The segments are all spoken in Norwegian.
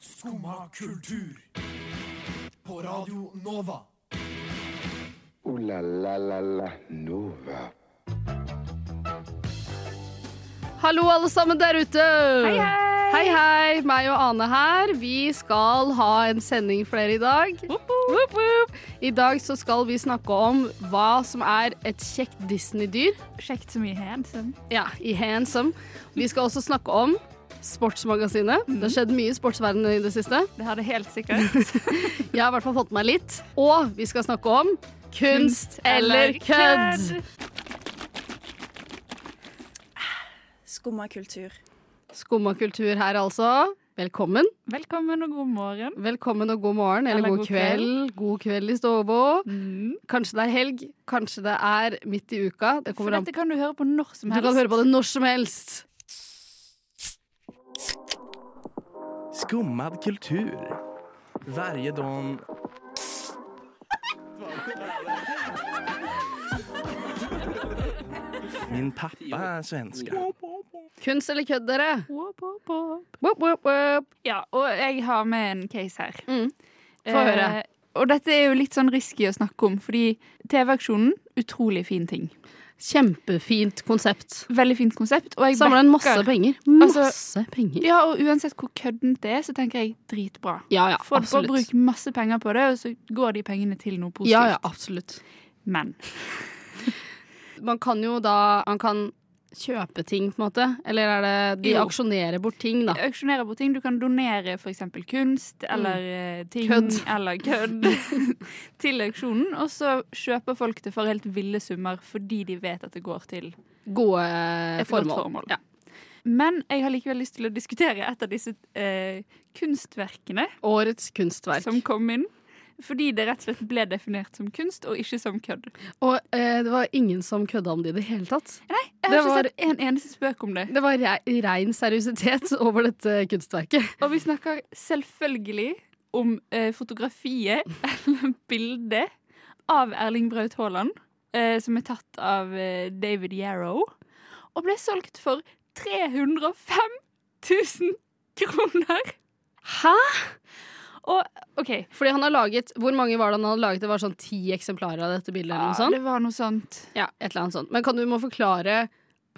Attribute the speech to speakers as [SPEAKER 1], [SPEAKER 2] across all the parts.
[SPEAKER 1] Skumma kultur. På Radio Nova.
[SPEAKER 2] Ooh la la la la Nova.
[SPEAKER 3] Hallo, alle sammen der ute! Hei, hei! Hei, hei! Meg og Ane her. Vi skal ha en sending for dere i dag. Woop, woop. I dag så skal vi snakke om hva som er et kjekt Disney-dyr.
[SPEAKER 4] Kjekt så mye handsome.
[SPEAKER 3] Ja, i Handsome. Vi skal også snakke om Sportsmagasinet. Det har skjedd mye i sportsverdenen i det siste.
[SPEAKER 4] Det har det helt sikkert.
[SPEAKER 3] Jeg har i hvert fall fått med meg litt. Og vi skal snakke om kunst eller kødd.
[SPEAKER 5] Skumma kultur.
[SPEAKER 3] Skumma kultur her, altså. Velkommen.
[SPEAKER 4] Velkommen og god morgen.
[SPEAKER 3] Velkommen og god morgen, eller, god, kveld. God kveld i stovå. Kanskje det er helg, kanskje det er midt i uka. Det
[SPEAKER 4] For
[SPEAKER 3] kommer an
[SPEAKER 4] dette kan du høre på når som
[SPEAKER 3] Du
[SPEAKER 4] helst.
[SPEAKER 3] kan høre på det når som helst.
[SPEAKER 6] Skummad kultur. Varje dag... Min pappa är svenska.
[SPEAKER 3] Kunst eller kødd, dere?
[SPEAKER 4] Wop, wop, wop.
[SPEAKER 3] Wop, wop, wop.
[SPEAKER 4] Ja, og jeg har med en case her. Eh,
[SPEAKER 3] Mm. Få høre.
[SPEAKER 4] og dette er jo litt sånn risky å snakke om, fordi TV-aksjonen, utrolig fin ting.
[SPEAKER 3] Kjempefint konsept.
[SPEAKER 4] Veldig fint konsept. Og jeg
[SPEAKER 3] Samler inn masse
[SPEAKER 4] backer-
[SPEAKER 3] penger.
[SPEAKER 4] Altså-
[SPEAKER 3] Masse penger.
[SPEAKER 4] Ja, og uansett hvor køddent det er, så tenker jeg dritbra.
[SPEAKER 3] Ja, ja,
[SPEAKER 4] Folk får
[SPEAKER 3] absolutt.
[SPEAKER 4] bruke masse penger på det, og så går de pengene til noe positivt.
[SPEAKER 3] Ja, ja, absolutt.
[SPEAKER 4] Men
[SPEAKER 3] Man kan jo da Man kan kjøpe ting, på en måte. Eller er det De
[SPEAKER 4] Jo.
[SPEAKER 3] aksjonerer bort ting, da.
[SPEAKER 4] auksjonere bort ting. Du kan donere f.eks. kunst eller eh, ting
[SPEAKER 3] Mm. Kødd.
[SPEAKER 4] eller kødd til auksjonen. Og så kjøper folk det for helt ville summer fordi de vet at det går til
[SPEAKER 3] Gode
[SPEAKER 4] et
[SPEAKER 3] formål.
[SPEAKER 4] godt formål.
[SPEAKER 3] Ja.
[SPEAKER 4] Men jeg har likevel lyst til å diskutere et av disse eh, kunstverkene
[SPEAKER 3] Årets kunstverk.
[SPEAKER 4] som kom inn. Fordi det rett og slett ble definert som kunst og ikke som kødd.
[SPEAKER 3] Og eh, det var ingen som kødda om det i det hele tatt.
[SPEAKER 4] Jeg
[SPEAKER 3] Det
[SPEAKER 4] har
[SPEAKER 3] var-
[SPEAKER 4] ikke sett en eneste spøk om det.
[SPEAKER 3] Det var re rein seriøsitet over dette kunstverket.
[SPEAKER 4] Og vi snakker selvfølgelig om eh, fotografiet, eller bildet, av Erling Braut Haaland, eh, som er tatt av eh, David Yarrow, og ble solgt for 305 000 kroner.
[SPEAKER 3] Hæ?
[SPEAKER 4] OK.
[SPEAKER 3] Fordi han har laget, Hvor mange var det han hadde laget? Det var sånn ti eksemplarer av dette bildet? eller noe
[SPEAKER 4] Ja,
[SPEAKER 3] sånt.
[SPEAKER 4] det var noe sånt.
[SPEAKER 3] Ja, et eller annet sånt. Men kan du må forklare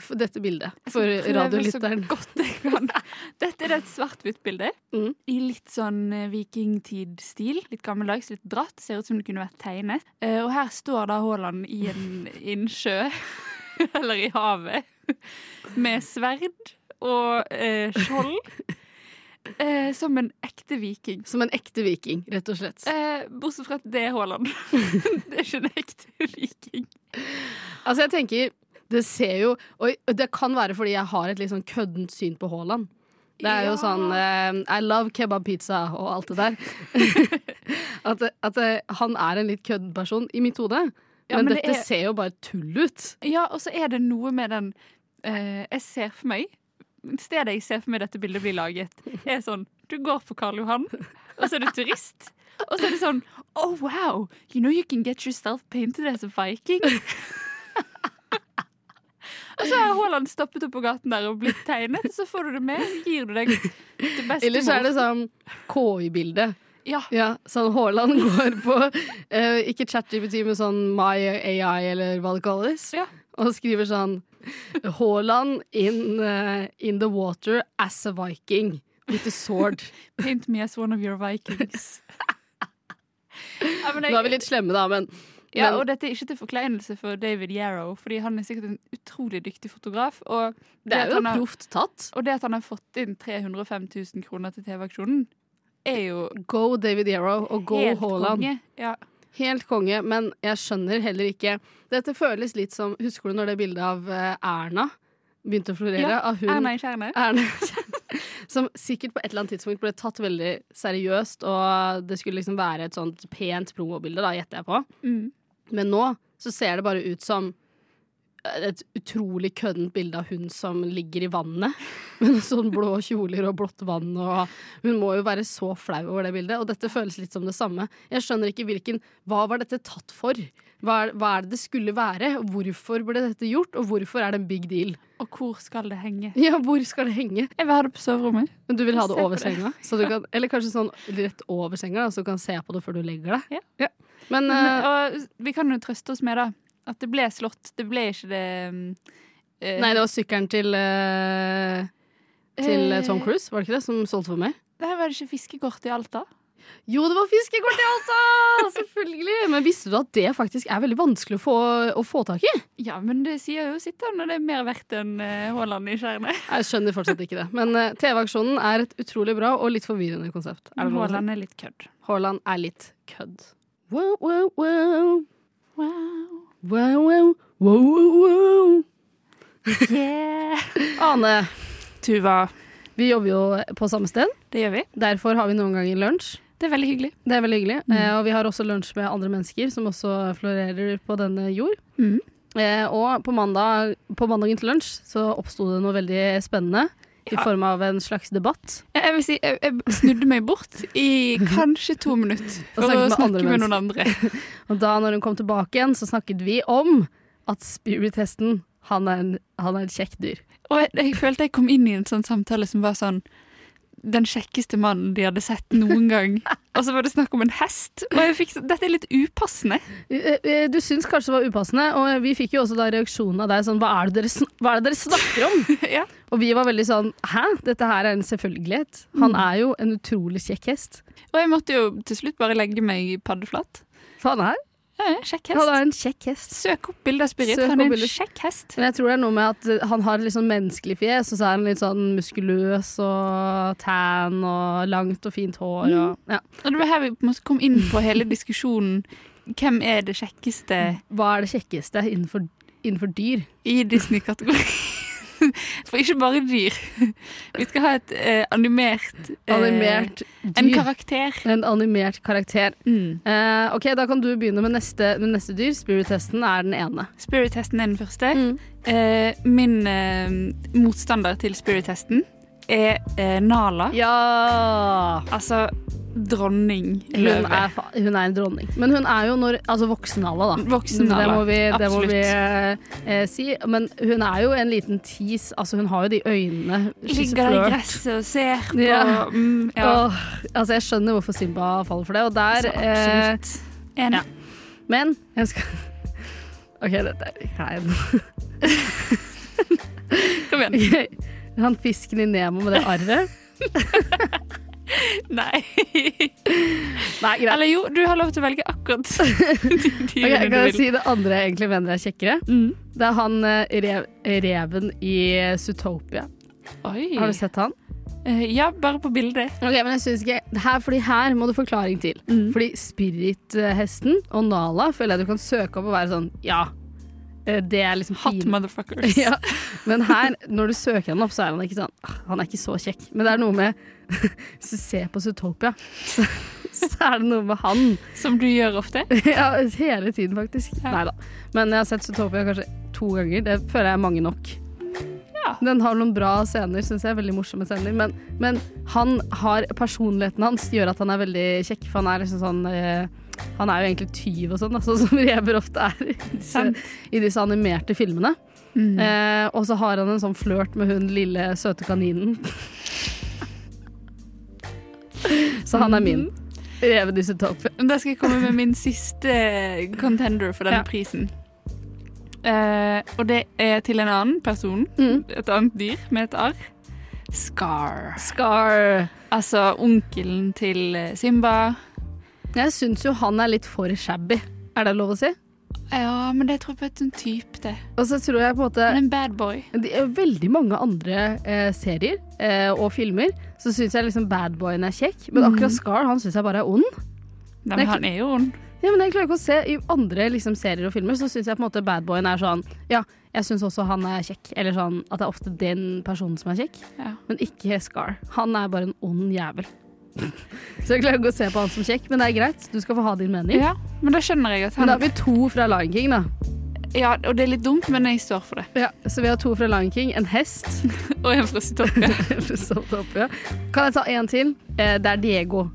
[SPEAKER 3] f- dette bildet for
[SPEAKER 4] Jeg skal prøve
[SPEAKER 3] radiolytteren?
[SPEAKER 4] Så godt jeg kan. Dette er et svart-hvitt bilde
[SPEAKER 3] Mm.
[SPEAKER 4] i litt sånn eh, vikingtid-stil. Litt gammeldags, litt dratt. Ser ut som det kunne vært tegnet. Eh, Og her står da Haaland i en innsjø, eller i havet, med sverd og eh, skjold. eh, som en ekte viking.
[SPEAKER 3] Som en ekte viking, rett og slett.
[SPEAKER 4] Eh, bortsett fra at det er Haaland. det er ikke en ekte viking.
[SPEAKER 3] Altså, jeg tenker Det ser jo Og det kan være fordi jeg har et litt sånn køddent syn på Haaland. Det er jo
[SPEAKER 4] Ja.
[SPEAKER 3] sånn eh, I love kebab pizza og alt det der. at at eh, han er en litt kødden person i mitt hode.
[SPEAKER 4] Ja,
[SPEAKER 3] men,
[SPEAKER 4] men det
[SPEAKER 3] dette
[SPEAKER 4] er-
[SPEAKER 3] ser jo bare tull ut.
[SPEAKER 4] Ja, og så er det noe med den eh, Jeg ser for meg Stedet jeg ser for meg dette bildet blir laget, er sånn Du går på Karl Johan, og så er du turist. Og så er det sånn Oh, wow! You know you can get yourself painted as a viking. og så har Haaland stoppet opp på gaten der og blitt tegnet, og så får du det med. Så gir du deg det beste
[SPEAKER 3] Ellers er det
[SPEAKER 4] mot-
[SPEAKER 3] sånn KI-bilde.
[SPEAKER 4] Ja.
[SPEAKER 3] Ja, sånn Haaland går på eh, Ikke ChatGPT, men sånn My AI, eller hva det kalles.
[SPEAKER 4] Ja.
[SPEAKER 3] Og skriver sånn Haaland in, eh, in the water as a viking. With a sword.
[SPEAKER 4] Paint me as one of your vikings. ja, men
[SPEAKER 3] Nå er vi litt slemme, da, men
[SPEAKER 4] Ja,
[SPEAKER 3] Men-
[SPEAKER 4] og dette er ikke til forkleinelse for David Yarrow, fordi han er sikkert en utrolig dyktig fotograf. Og det,
[SPEAKER 3] det er
[SPEAKER 4] at
[SPEAKER 3] jo
[SPEAKER 4] han har,
[SPEAKER 3] proft tatt.
[SPEAKER 4] og det at han har fått inn 305 000 kroner til TV-aksjonen, er jo
[SPEAKER 3] Go David Yarrow og go
[SPEAKER 4] helt
[SPEAKER 3] Haaland.
[SPEAKER 4] konge. Ja.
[SPEAKER 3] Helt konge, men jeg skjønner heller ikke Dette føles litt som Husker du når det bildet av eh, Erna begynte å florere?
[SPEAKER 4] Ja,
[SPEAKER 3] av hun
[SPEAKER 4] Erna i kjerne.
[SPEAKER 3] Erna Som sikkert på et eller annet tidspunkt ble tatt veldig seriøst, og det skulle liksom være et sånt pent promobilde, da, gjetter jeg på.
[SPEAKER 4] Mm.
[SPEAKER 3] Men nå så ser det bare ut som et utrolig køddent bilde av hun som ligger i vannet. Med sånn blå kjoler og blått vann. Og hun må jo være så flau over det bildet. Og dette føles litt som det samme. Jeg skjønner ikke hvilken Hva var dette tatt for? Hva er, hva er det det skulle være? Hvorfor ble dette gjort? Og hvorfor er det en big deal?
[SPEAKER 4] Og hvor skal det henge?
[SPEAKER 3] Ja, hvor skal det henge?
[SPEAKER 4] Jeg vil ha det på soverommet.
[SPEAKER 3] Men du vil ha det
[SPEAKER 4] Se på
[SPEAKER 3] over
[SPEAKER 4] det.
[SPEAKER 3] senga? Så du kan, eller kanskje sånn rett over senga, da, så du kan se på det før du legger deg?
[SPEAKER 4] Ja.
[SPEAKER 3] Men
[SPEAKER 4] Men,
[SPEAKER 3] eh,
[SPEAKER 4] og vi kan jo trøste oss med da at det ble slått. Det ble ikke det mm, eh,
[SPEAKER 3] Nei, det var sykkelen til, eh, til eh, Tom
[SPEAKER 4] eh,
[SPEAKER 3] Cruise, var det ikke det, som solgte for meg?
[SPEAKER 4] Nei, var det ikke fiskekort i Alta?
[SPEAKER 3] Jo, det var fiskekort i Alta! Selvfølgelig! Men visste du at det faktisk er veldig vanskelig å få, å få tak i?
[SPEAKER 4] Ja, men det sier jo sitt da, når det er mer verdt enn eh, Haaland i skjerne.
[SPEAKER 3] Jeg skjønner fortsatt ikke det. Men eh, TV-aksjonen er et utrolig bra og litt forvirrende konsept. Er det lov å si?
[SPEAKER 4] Haaland er litt kødd.
[SPEAKER 3] Haaland er litt kødd. Wow, wow, wow.
[SPEAKER 4] Wow.
[SPEAKER 3] Wow, wow, wow, wow, wow.
[SPEAKER 4] Yeah.
[SPEAKER 3] Ane,
[SPEAKER 4] Tuva.
[SPEAKER 3] vi jobber jo på samme sted.
[SPEAKER 4] Det gjør vi.
[SPEAKER 3] Derfor har vi noen ganger lunsj.
[SPEAKER 4] Det er veldig hyggelig.
[SPEAKER 3] Det er veldig hyggelig. Eh, og vi har også lunsj med andre mennesker som også florerer på denne jord.
[SPEAKER 4] Mhm.
[SPEAKER 3] Eh, og på, mandag, på mandagen til lunsj så oppsto det noe veldig spennende. I
[SPEAKER 4] Ja.
[SPEAKER 3] form av en slags debatt.
[SPEAKER 4] Jeg, jeg vil si, jeg, jeg snudde meg bort i kanskje to minutter
[SPEAKER 3] Og
[SPEAKER 4] for å
[SPEAKER 3] snakket med andre
[SPEAKER 4] snakke med noen andre.
[SPEAKER 3] Og da når hun kom tilbake igjen, så snakket vi om at Spirit-hesten, han er, en, han er et kjekt dyr.
[SPEAKER 4] Og jeg, jeg følte jeg kom inn i en sånn samtale som var sånn den kjekkeste mannen de hadde sett noen gang. Og så var det snakk om en hest. Og jeg fikk, så- dette er litt upassende.
[SPEAKER 3] Eh, eh, Du syns kanskje det var upassende, og vi fikk jo også da reaksjonen av deg sånn Hva er det dere, sn hva er det dere snakker om?
[SPEAKER 4] ja.
[SPEAKER 3] Og vi var veldig sånn Hæ, dette her er en selvfølgelighet. Han er jo en utrolig kjekk hest.
[SPEAKER 4] Og jeg måtte jo til slutt bare legge meg paddeflat.
[SPEAKER 3] For han er,
[SPEAKER 4] Ja, ja, kjekk
[SPEAKER 3] han
[SPEAKER 4] hest.
[SPEAKER 3] er en kjekk hest.
[SPEAKER 4] Søk opp bilder av Spirit.
[SPEAKER 3] Søk
[SPEAKER 4] Han er
[SPEAKER 3] opp
[SPEAKER 4] en
[SPEAKER 3] bilder.
[SPEAKER 4] kjekk hest.
[SPEAKER 3] Men jeg tror det er noe med at eh, han har litt sånn menneskelig fjes, og så er han litt sånn muskuløs og tan og langt og fint hår og ja.
[SPEAKER 4] Og det var her vi på en måte kom inn på hele diskusjonen. Hvem er det kjekkeste
[SPEAKER 3] Hva er det kjekkeste innenfor, innenfor dyr?
[SPEAKER 4] i Disney-kategorien? For ikke bare dyr. Vi skal ha et eh, animert eh,
[SPEAKER 3] Animert
[SPEAKER 4] En
[SPEAKER 3] dyr.
[SPEAKER 4] karakter.
[SPEAKER 3] En animert karakter.
[SPEAKER 4] Mm.
[SPEAKER 3] Eh, ok, Da kan du begynne med neste, med neste dyr. Spirit-hesten er den ene.
[SPEAKER 4] Spirit-testen er den første.
[SPEAKER 3] Mm.
[SPEAKER 4] Eh, min eh, motstander til spirit-testen er eh, Nala.
[SPEAKER 3] Ja!
[SPEAKER 4] Altså dronning
[SPEAKER 3] Hun
[SPEAKER 4] løve.
[SPEAKER 3] er, fa- hun er en dronning. Men hun er jo når, altså voksen alder, da.
[SPEAKER 4] Voksen
[SPEAKER 3] Det må
[SPEAKER 4] Nala.
[SPEAKER 3] vi, det må
[SPEAKER 4] Absolutt.
[SPEAKER 3] vi eh, si. Men hun er jo en liten tis. Altså, hun har jo de øynene
[SPEAKER 4] Ligger der i
[SPEAKER 3] skisseflør.
[SPEAKER 4] gresset og ser på
[SPEAKER 3] Ja.
[SPEAKER 4] Mm, ja.
[SPEAKER 3] Åh, altså, jeg skjønner hvorfor Simba faller for det. Og
[SPEAKER 4] Så
[SPEAKER 3] der eh,
[SPEAKER 4] absolutt. Enig.
[SPEAKER 3] Men jeg skal OK, dette er klein.
[SPEAKER 4] Kom igjen.
[SPEAKER 3] Ok. Han fisken i Nemo med det arret.
[SPEAKER 4] Nei.
[SPEAKER 3] Nei, greit.
[SPEAKER 4] Eller jo, du har lov til å velge akkurat de
[SPEAKER 3] Ok,
[SPEAKER 4] dyrene
[SPEAKER 3] kan jeg
[SPEAKER 4] du vil.
[SPEAKER 3] si det andre jeg egentlig mener er kjekkere?
[SPEAKER 4] Mm.
[SPEAKER 3] Det er han eh, rev, reven i Zootopia.
[SPEAKER 4] Oi.
[SPEAKER 3] Har du sett han?
[SPEAKER 4] Eh, ja, bare på bildet.
[SPEAKER 3] Ok, men jeg synes ikke her, Fordi her må det forklaring til.
[SPEAKER 4] Mm.
[SPEAKER 3] Fordi Spirit-hesten og Nala føler jeg du kan søke opp og være sånn Ja, eh, det er liksom
[SPEAKER 4] Hot
[SPEAKER 3] fine.
[SPEAKER 4] motherfuckers.
[SPEAKER 3] Ja, men her, når du søker han opp, så er han ikke sånn «Ah, Han er ikke så kjekk. Men det er noe med Hvis du ser på Zootopia, så, så er det noe med han.
[SPEAKER 4] Som du gjør ofte.
[SPEAKER 3] Ja, hele tiden, faktisk.
[SPEAKER 4] Ja.
[SPEAKER 3] Neida. Men jeg har sett Zootopia kanskje to ganger. Det føler jeg er mange nok.
[SPEAKER 4] Ja.
[SPEAKER 3] Den har noen bra scener, syns jeg. Veldig morsomme scener. Men, men han har, personligheten hans gjør at han er veldig kjekk, for han er liksom sånn eh, Han er jo egentlig tyv og sånn, da, sånn som rever ofte er i disse,
[SPEAKER 4] Sant.
[SPEAKER 3] i disse animerte filmene.
[SPEAKER 4] Mm.
[SPEAKER 3] Eh, og så har han en sånn flørt med hun lille søte kaninen. så han er min.
[SPEAKER 4] Mm.
[SPEAKER 3] Reven i Zootopia.
[SPEAKER 4] Men Da skal jeg komme med min siste eh, contender for denne
[SPEAKER 3] Ja.
[SPEAKER 4] prisen. Eh, og det er til en annen person,
[SPEAKER 3] Mm.
[SPEAKER 4] et annet dyr med et arr. Scar.
[SPEAKER 3] Scar.
[SPEAKER 4] Altså onkelen til eh, Simba.
[SPEAKER 3] Jeg syns jo han er litt for shabby. Er det lov å si?
[SPEAKER 4] Ja, men det tror jeg på at en type, det.
[SPEAKER 3] Og så tror jeg på en
[SPEAKER 4] Han er
[SPEAKER 3] måte
[SPEAKER 4] en bad boy.
[SPEAKER 3] det er Veldig mange andre eh, serier eh, og filmer så syns jeg liksom badboyen er kjekk, men akkurat Scar han syns jeg bare er ond. Nei,
[SPEAKER 4] Nei, men han er jo ond.
[SPEAKER 3] Ja, men jeg klarer ikke å se I andre liksom, serier og filmer så syns jeg på en måte badboyen er sånn Ja, jeg syns også han er kjekk. Eller sånn at det er ofte den personen som er kjekk,
[SPEAKER 4] Ja.
[SPEAKER 3] men ikke Scar. Han er bare en ond jævel. Så jeg klarer ikke å se på han som kjekk, men det er greit. Du skal få ha din mening.
[SPEAKER 4] ja, men da skjønner jeg at
[SPEAKER 3] Men
[SPEAKER 4] han
[SPEAKER 3] da har vi to fra Lion King, da.
[SPEAKER 4] Ja, og det er litt dumt, men jeg står for det.
[SPEAKER 3] Ja, så vi har to fra Lion King. En hest.
[SPEAKER 4] Og en fra Sitopia.
[SPEAKER 3] Så topp, ja. Kan jeg ta en til? Eh, Det er Diego.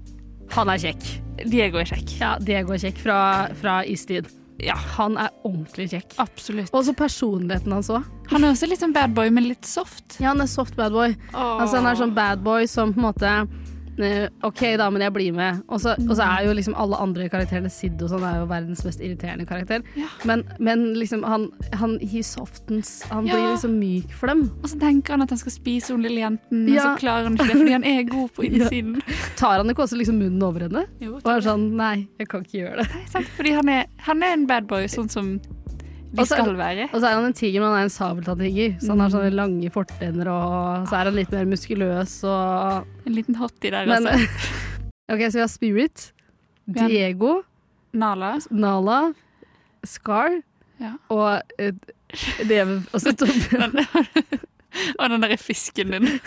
[SPEAKER 3] Han er kjekk.
[SPEAKER 4] Diego er kjekk.
[SPEAKER 3] Ja, Diego er kjekk fra, fra istid.
[SPEAKER 4] Ja.
[SPEAKER 3] Han er ordentlig kjekk.
[SPEAKER 4] Absolutt.
[SPEAKER 3] Og så personligheten hans òg.
[SPEAKER 4] Han er også litt sånn bad boy, men litt soft.
[SPEAKER 3] Ja, han er soft badboy. Altså, han er sånn badboy som på en måte eh, OK, da, men jeg blir med. Og så og så er jo liksom alle andre karakterene Sid og sånn, er jo verdens mest irriterende karakter.
[SPEAKER 4] Ja.
[SPEAKER 3] Men, men liksom, han, han he softens Han
[SPEAKER 4] Ja.
[SPEAKER 3] blir liksom myk for dem.
[SPEAKER 4] Og så tenker han at han skal spise hun lille jenten, men
[SPEAKER 3] Ja.
[SPEAKER 4] så klarer han ikke det fordi han er god på innsiden.
[SPEAKER 3] Tar han ikke også liksom munnen over henne?
[SPEAKER 4] Jo,
[SPEAKER 3] Og er sånn Nei, jeg kan ikke gjøre det.
[SPEAKER 4] sant? Fordi han er, han er en bad boy, sånn som de
[SPEAKER 3] Og så-
[SPEAKER 4] skal være.
[SPEAKER 3] Og så er han en tiger, men han er en sabeltanntiger. Så han har
[SPEAKER 4] Mm.
[SPEAKER 3] sånne lange fortenner, og så er han litt mer muskuløs og
[SPEAKER 4] En liten hottie der,
[SPEAKER 3] Men
[SPEAKER 4] altså.
[SPEAKER 3] OK, så vi har Spirit,
[SPEAKER 4] Ja.
[SPEAKER 3] Diego,
[SPEAKER 4] Nala.
[SPEAKER 3] Nala, Scar
[SPEAKER 4] Ja.
[SPEAKER 3] og eh, Reven og så Torbjørn.
[SPEAKER 4] Den, og den derre fisken din.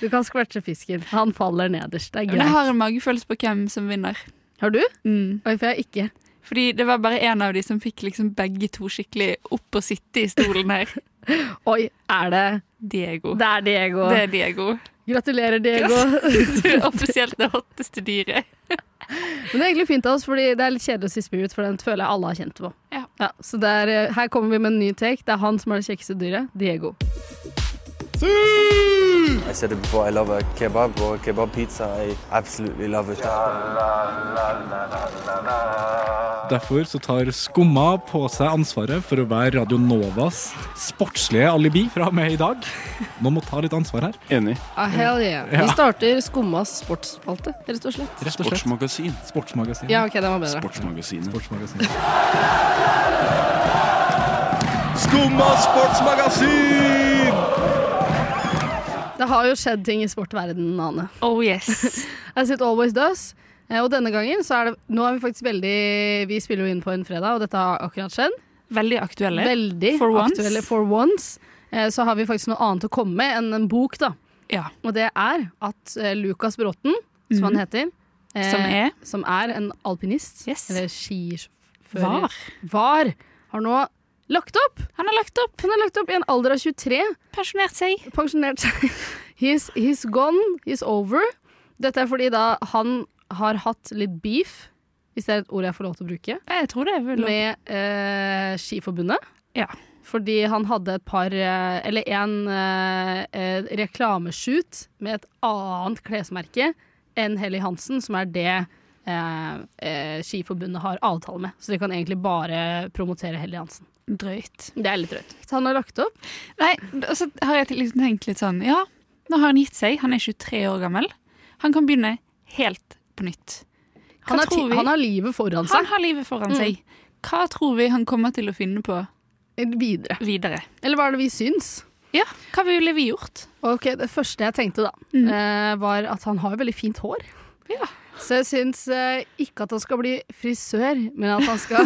[SPEAKER 3] Du kan skvætsje fisken. Han faller nederst. Det er
[SPEAKER 4] Men jeg
[SPEAKER 3] greit.
[SPEAKER 4] har en magefølelse på hvem som vinner.
[SPEAKER 3] Har du?
[SPEAKER 4] Mm.
[SPEAKER 3] Oi, for jeg har ikke.
[SPEAKER 4] Fordi det var bare én av de som fikk liksom begge to skikkelig opp og sitte i stolen her.
[SPEAKER 3] Oi, er det
[SPEAKER 4] Diego.
[SPEAKER 3] Det er Diego.
[SPEAKER 4] Det er Diego.
[SPEAKER 3] Gratulerer, Diego.
[SPEAKER 4] Du er offisielt det hotteste dyret.
[SPEAKER 3] Men det er egentlig fint av oss, fordi det er litt kjedelig å si Spirit, for den føler jeg alle har kjent på.
[SPEAKER 4] Ja.
[SPEAKER 3] så det er, eh, her kommer vi med en ny take. Det er han som er det kjekkeste dyret. Diego.
[SPEAKER 7] I said it before, I love a kebab or a kebab pizza. I absolutely love it.
[SPEAKER 8] Derfor så tar Skumma på seg ansvaret for å være Radio Novas sportslige alibi fra og med i dag. Nå må ta litt ansvar her.
[SPEAKER 9] Enig.
[SPEAKER 10] Ah, hell yeah. Vi starter Skummas sportsspalte, rett og slett.
[SPEAKER 8] Rett og slett.
[SPEAKER 9] Sportsmagasin.
[SPEAKER 8] Sportsmagasin.
[SPEAKER 10] Ja, OK, den var bedre.
[SPEAKER 9] Sportsmagasinet.
[SPEAKER 8] Sportsmagasin.
[SPEAKER 6] Skumma sportsmagasin!
[SPEAKER 3] Det har jo skjedd ting i sportverdenen, Ane.
[SPEAKER 4] Oh yes.
[SPEAKER 3] As it always does. Eh, Og denne gangen så er det Nå er vi faktisk veldig Vi spiller jo inn på en fredag, og dette har akkurat skjedd.
[SPEAKER 4] Veldig aktuelle.
[SPEAKER 3] Veldig
[SPEAKER 4] For once.
[SPEAKER 3] aktuelle for once. Eh, Så har vi faktisk noe annet å komme med enn en bok, da.
[SPEAKER 4] Ja.
[SPEAKER 3] Og det er at eh, Lukas Bråten, som han heter, eh,
[SPEAKER 4] Mhm. Som er?
[SPEAKER 3] som er en alpinist,
[SPEAKER 4] Yes.
[SPEAKER 3] eller skisjåfør
[SPEAKER 4] Var.
[SPEAKER 3] var, har nå lagt opp.
[SPEAKER 4] Han har lagt opp.
[SPEAKER 3] Han har lagt opp i en alder av 23,
[SPEAKER 4] Pensjonert seg.
[SPEAKER 3] pensjonert seg. He's, he's gone, he's over. Dette er fordi da han har hatt litt beef, hvis det er et ord jeg får lov til å bruke,
[SPEAKER 4] Jeg tror det er vel lov.
[SPEAKER 3] med eh, Skiforbundet.
[SPEAKER 4] Ja.
[SPEAKER 3] Fordi han hadde et par, eh, eller en eh, eh, reklameshoot med et annet klesmerke enn Helly Hansen, som er det eh, eh, Skiforbundet har avtale med. Så de kan egentlig bare promotere Helly Hansen.
[SPEAKER 4] drøyt.
[SPEAKER 3] Det er litt drøyt. Så han har lagt opp.
[SPEAKER 4] Nei, og så har jeg liksom tenkt litt sånn Ja, nå har han gitt seg. Han er 23 år gammel. Han kan begynne helt på nytt. Hva
[SPEAKER 3] Han, har ti-
[SPEAKER 4] tror vi?
[SPEAKER 3] han har livet foran
[SPEAKER 4] Han Mm.
[SPEAKER 3] seg
[SPEAKER 4] har livet foran seg. Hva tror vi han kommer til å finne på
[SPEAKER 3] videre.
[SPEAKER 4] videre?
[SPEAKER 3] Eller hva er det vi syns?
[SPEAKER 4] Ja, hva ville vi gjort?
[SPEAKER 3] Ok, Det første jeg tenkte, da,
[SPEAKER 4] Mm.
[SPEAKER 3] eh, var at han har jo veldig fint hår.
[SPEAKER 4] Ja.
[SPEAKER 3] Så jeg syns eh, ikke at han skal bli frisør, men at, han skal,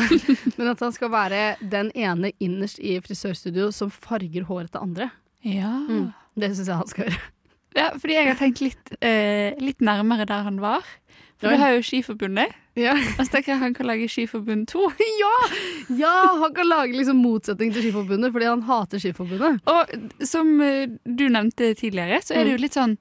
[SPEAKER 3] men at han skal være den ene innerst i frisørstudio som farger håret til andre.
[SPEAKER 4] Ja.
[SPEAKER 3] Mm. Det syns jeg han skal gjøre.
[SPEAKER 4] ja fordi jeg har tenkt litt, eh, litt nærmere der han var. For
[SPEAKER 3] Oi.
[SPEAKER 4] du har jo Skiforbundet.
[SPEAKER 3] Ja,
[SPEAKER 4] Og så tenker jeg han kan lage Skiforbund 2.
[SPEAKER 3] Han kan lage liksom motsetning til Skiforbundet, fordi han hater Skiforbundet.
[SPEAKER 4] Og som eh, du nevnte tidligere, så
[SPEAKER 3] Mm.
[SPEAKER 4] er det jo litt sånn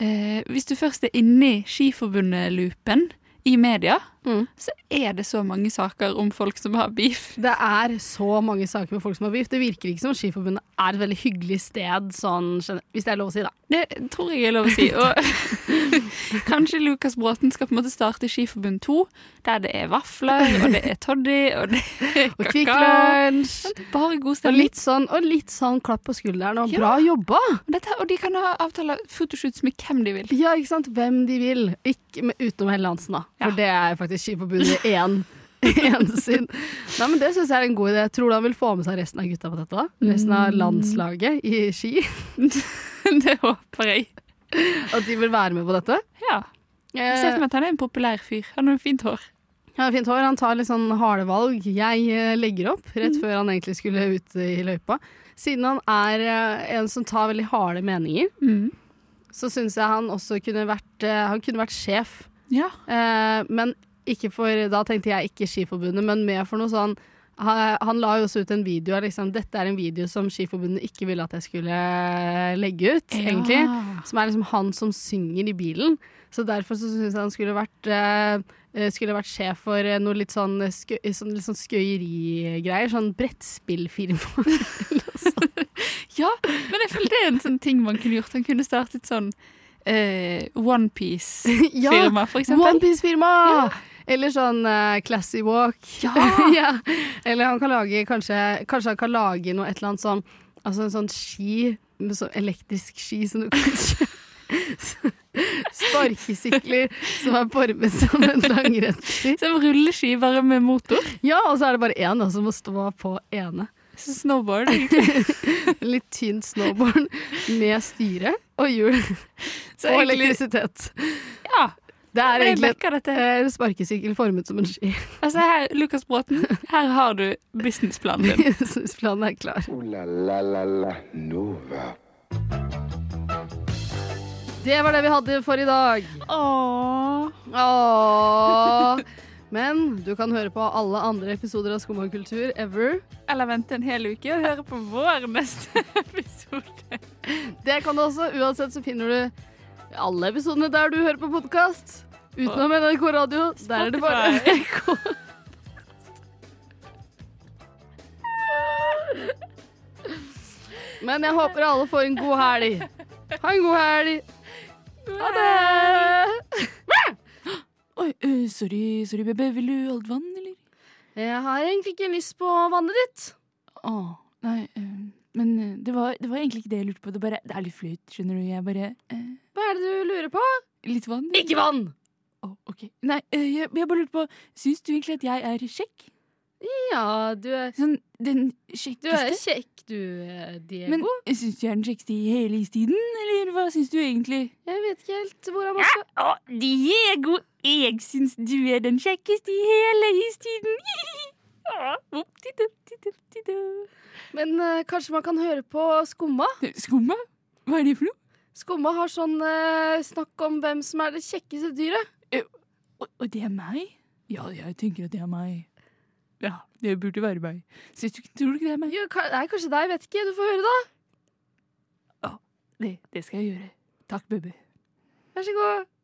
[SPEAKER 4] eh, Hvis du først er inni Skiforbundet-loopen i media,
[SPEAKER 3] Mm.
[SPEAKER 4] så er det så mange saker om folk som har beef.
[SPEAKER 3] Det er så mange saker med folk som har beef. Det virker ikke som Skiforbundet er et veldig hyggelig sted, sånn, gen- hvis det er lov å si, da.
[SPEAKER 4] Det tror jeg er lov å si. Og kanskje Lukas Bråten skal på en måte starte Skiforbund 2, der det er vafler, og det er toddy, og det er
[SPEAKER 3] Og Kvikk
[SPEAKER 4] kakao.
[SPEAKER 3] Lunsj.
[SPEAKER 4] Bare god
[SPEAKER 3] Og
[SPEAKER 4] stemning.
[SPEAKER 3] litt sånn, og litt sånn klapp på skulderen og
[SPEAKER 4] Ja.
[SPEAKER 3] bra jobba.
[SPEAKER 4] Dette, og de kan ha avtaler fotoshoots med hvem de vil.
[SPEAKER 3] Ja, ikke sant? Hvem de vil. Ikke, men utenom Helle Hansen, da. For
[SPEAKER 4] Ja.
[SPEAKER 3] det er faktisk Skiforbundet én. én sin. Nei, men Det syns jeg er en god idé. Tror du han vil få med seg resten av gutta på dette? da? Resten av landslaget i ski?
[SPEAKER 4] Det håper jeg.
[SPEAKER 3] At de vil være med på dette?
[SPEAKER 4] Ja. Jeg ser for meg at han er en populær fyr. Han har fint hår.
[SPEAKER 3] Eh, Han har fint hår, han tar litt sånn harde valg. Jeg eh, legger opp rett før han egentlig skulle ut i løypa. Siden han er eh, en som tar veldig harde meninger,
[SPEAKER 4] Mm.
[SPEAKER 3] så syns jeg han også kunne vært, eh, han kunne vært sjef.
[SPEAKER 4] Ja.
[SPEAKER 3] Eh, men ikke for Da tenkte jeg ikke Skiforbundet, men mer for noe sånn Han, han la jo også ut en video av liksom Dette er en video som Skiforbundet ikke ville at jeg skulle legge ut, egentlig. Som er liksom han som synger i bilen. Så derfor så syns jeg han skulle vært eh, skulle vært sjef for eh, noe litt sånn, skø, sånn, litt sånn skøyerigreier. Sånn brettspillfirma.
[SPEAKER 4] Ja, men jeg føler det er en sånn ting man kunne gjort. Han kunne startet sånn eh, OnePiece-firma, for eksempel.
[SPEAKER 3] Onepiece-firma! Eller sånn eh, Classy Walk.
[SPEAKER 4] Ja!
[SPEAKER 3] ja. Eller han kan lage kanskje, kanskje han kan lage noe et eller annet sånn Altså en sånn ski, med sånn elektrisk ski som du kan kjø- Sparkesykler som er formet som en langrennsski.
[SPEAKER 4] Som rulleski, bare med motor.
[SPEAKER 3] Ja, og så er det bare én da, som må stå på ene.
[SPEAKER 4] Så Snowboard.
[SPEAKER 3] En litt tynn snowboard med styre og hjul
[SPEAKER 4] Så
[SPEAKER 3] og
[SPEAKER 4] egentlig,
[SPEAKER 3] elektrisitet.
[SPEAKER 4] ja,
[SPEAKER 3] Det er
[SPEAKER 4] men jeg
[SPEAKER 3] egentlig
[SPEAKER 4] backer dette.
[SPEAKER 3] eh, en sparkesykkel formet som en ski.
[SPEAKER 4] Altså her, Lukas Bråten, her har du businessplanen din.
[SPEAKER 3] Businessplanen er klar.
[SPEAKER 2] Ooh la la la la Nova.
[SPEAKER 3] Det var det vi hadde for i dag.
[SPEAKER 4] Åh.
[SPEAKER 3] Åh. Men du kan høre på alle andre episoder av Skum og kultur ever.
[SPEAKER 4] Eller vente en hel uke og høre på vår neste episode.
[SPEAKER 3] Det kan du også. Uansett så finner du alle episodene der du hører på podkast. Utenom NRK Radio. Der er det bare NRK. Men jeg håper alle får en god helg. Ha en god helg. Ha det.
[SPEAKER 4] Oi, eh, sorry, sorry, baby. Vil du alt vann, eller?
[SPEAKER 3] Jeg har egentlig ikke lyst på vannet ditt.
[SPEAKER 4] Åh, nei, eh, men eh, det var, det var egentlig ikke det jeg lurte på. Det, bare, det er litt flaut, skjønner du. Jeg bare eh,
[SPEAKER 3] Hva er det du lurer på?
[SPEAKER 4] Litt vann?
[SPEAKER 3] Ikke vann!
[SPEAKER 4] Åh, ok. Nei, eh, jeg, jeg bare lurte på Syns du egentlig at jeg er kjekk?
[SPEAKER 3] Ja, du er,
[SPEAKER 4] Sånn den
[SPEAKER 3] du er
[SPEAKER 4] kjekkeste?
[SPEAKER 3] kjekk, du, eh, Diego.
[SPEAKER 4] Men syns du jeg er den kjekkeste i hele istiden, eller hva syns du egentlig?
[SPEAKER 3] jeg vet ikke helt hvor han skal
[SPEAKER 4] Å, Diego, jeg syns du er den kjekkeste i hele istiden.
[SPEAKER 3] Men eh, kanskje man kan høre på Skumma?
[SPEAKER 4] Skumma? Hva er det for noe?
[SPEAKER 3] Skumma har sånn eh, snakk om hvem som er det kjekkeste dyret.
[SPEAKER 4] Og, og det er meg? Ja, jeg tenker at det er meg. Ja, det burde være meg. Syns du, ikke- tror du ikke det er meg?
[SPEAKER 3] Jo, ka- nei, kanskje deg, vet ikke. Du får høre, da.
[SPEAKER 4] Det, det skal jeg gjøre. Takk, Bubbe.
[SPEAKER 3] Vær så god.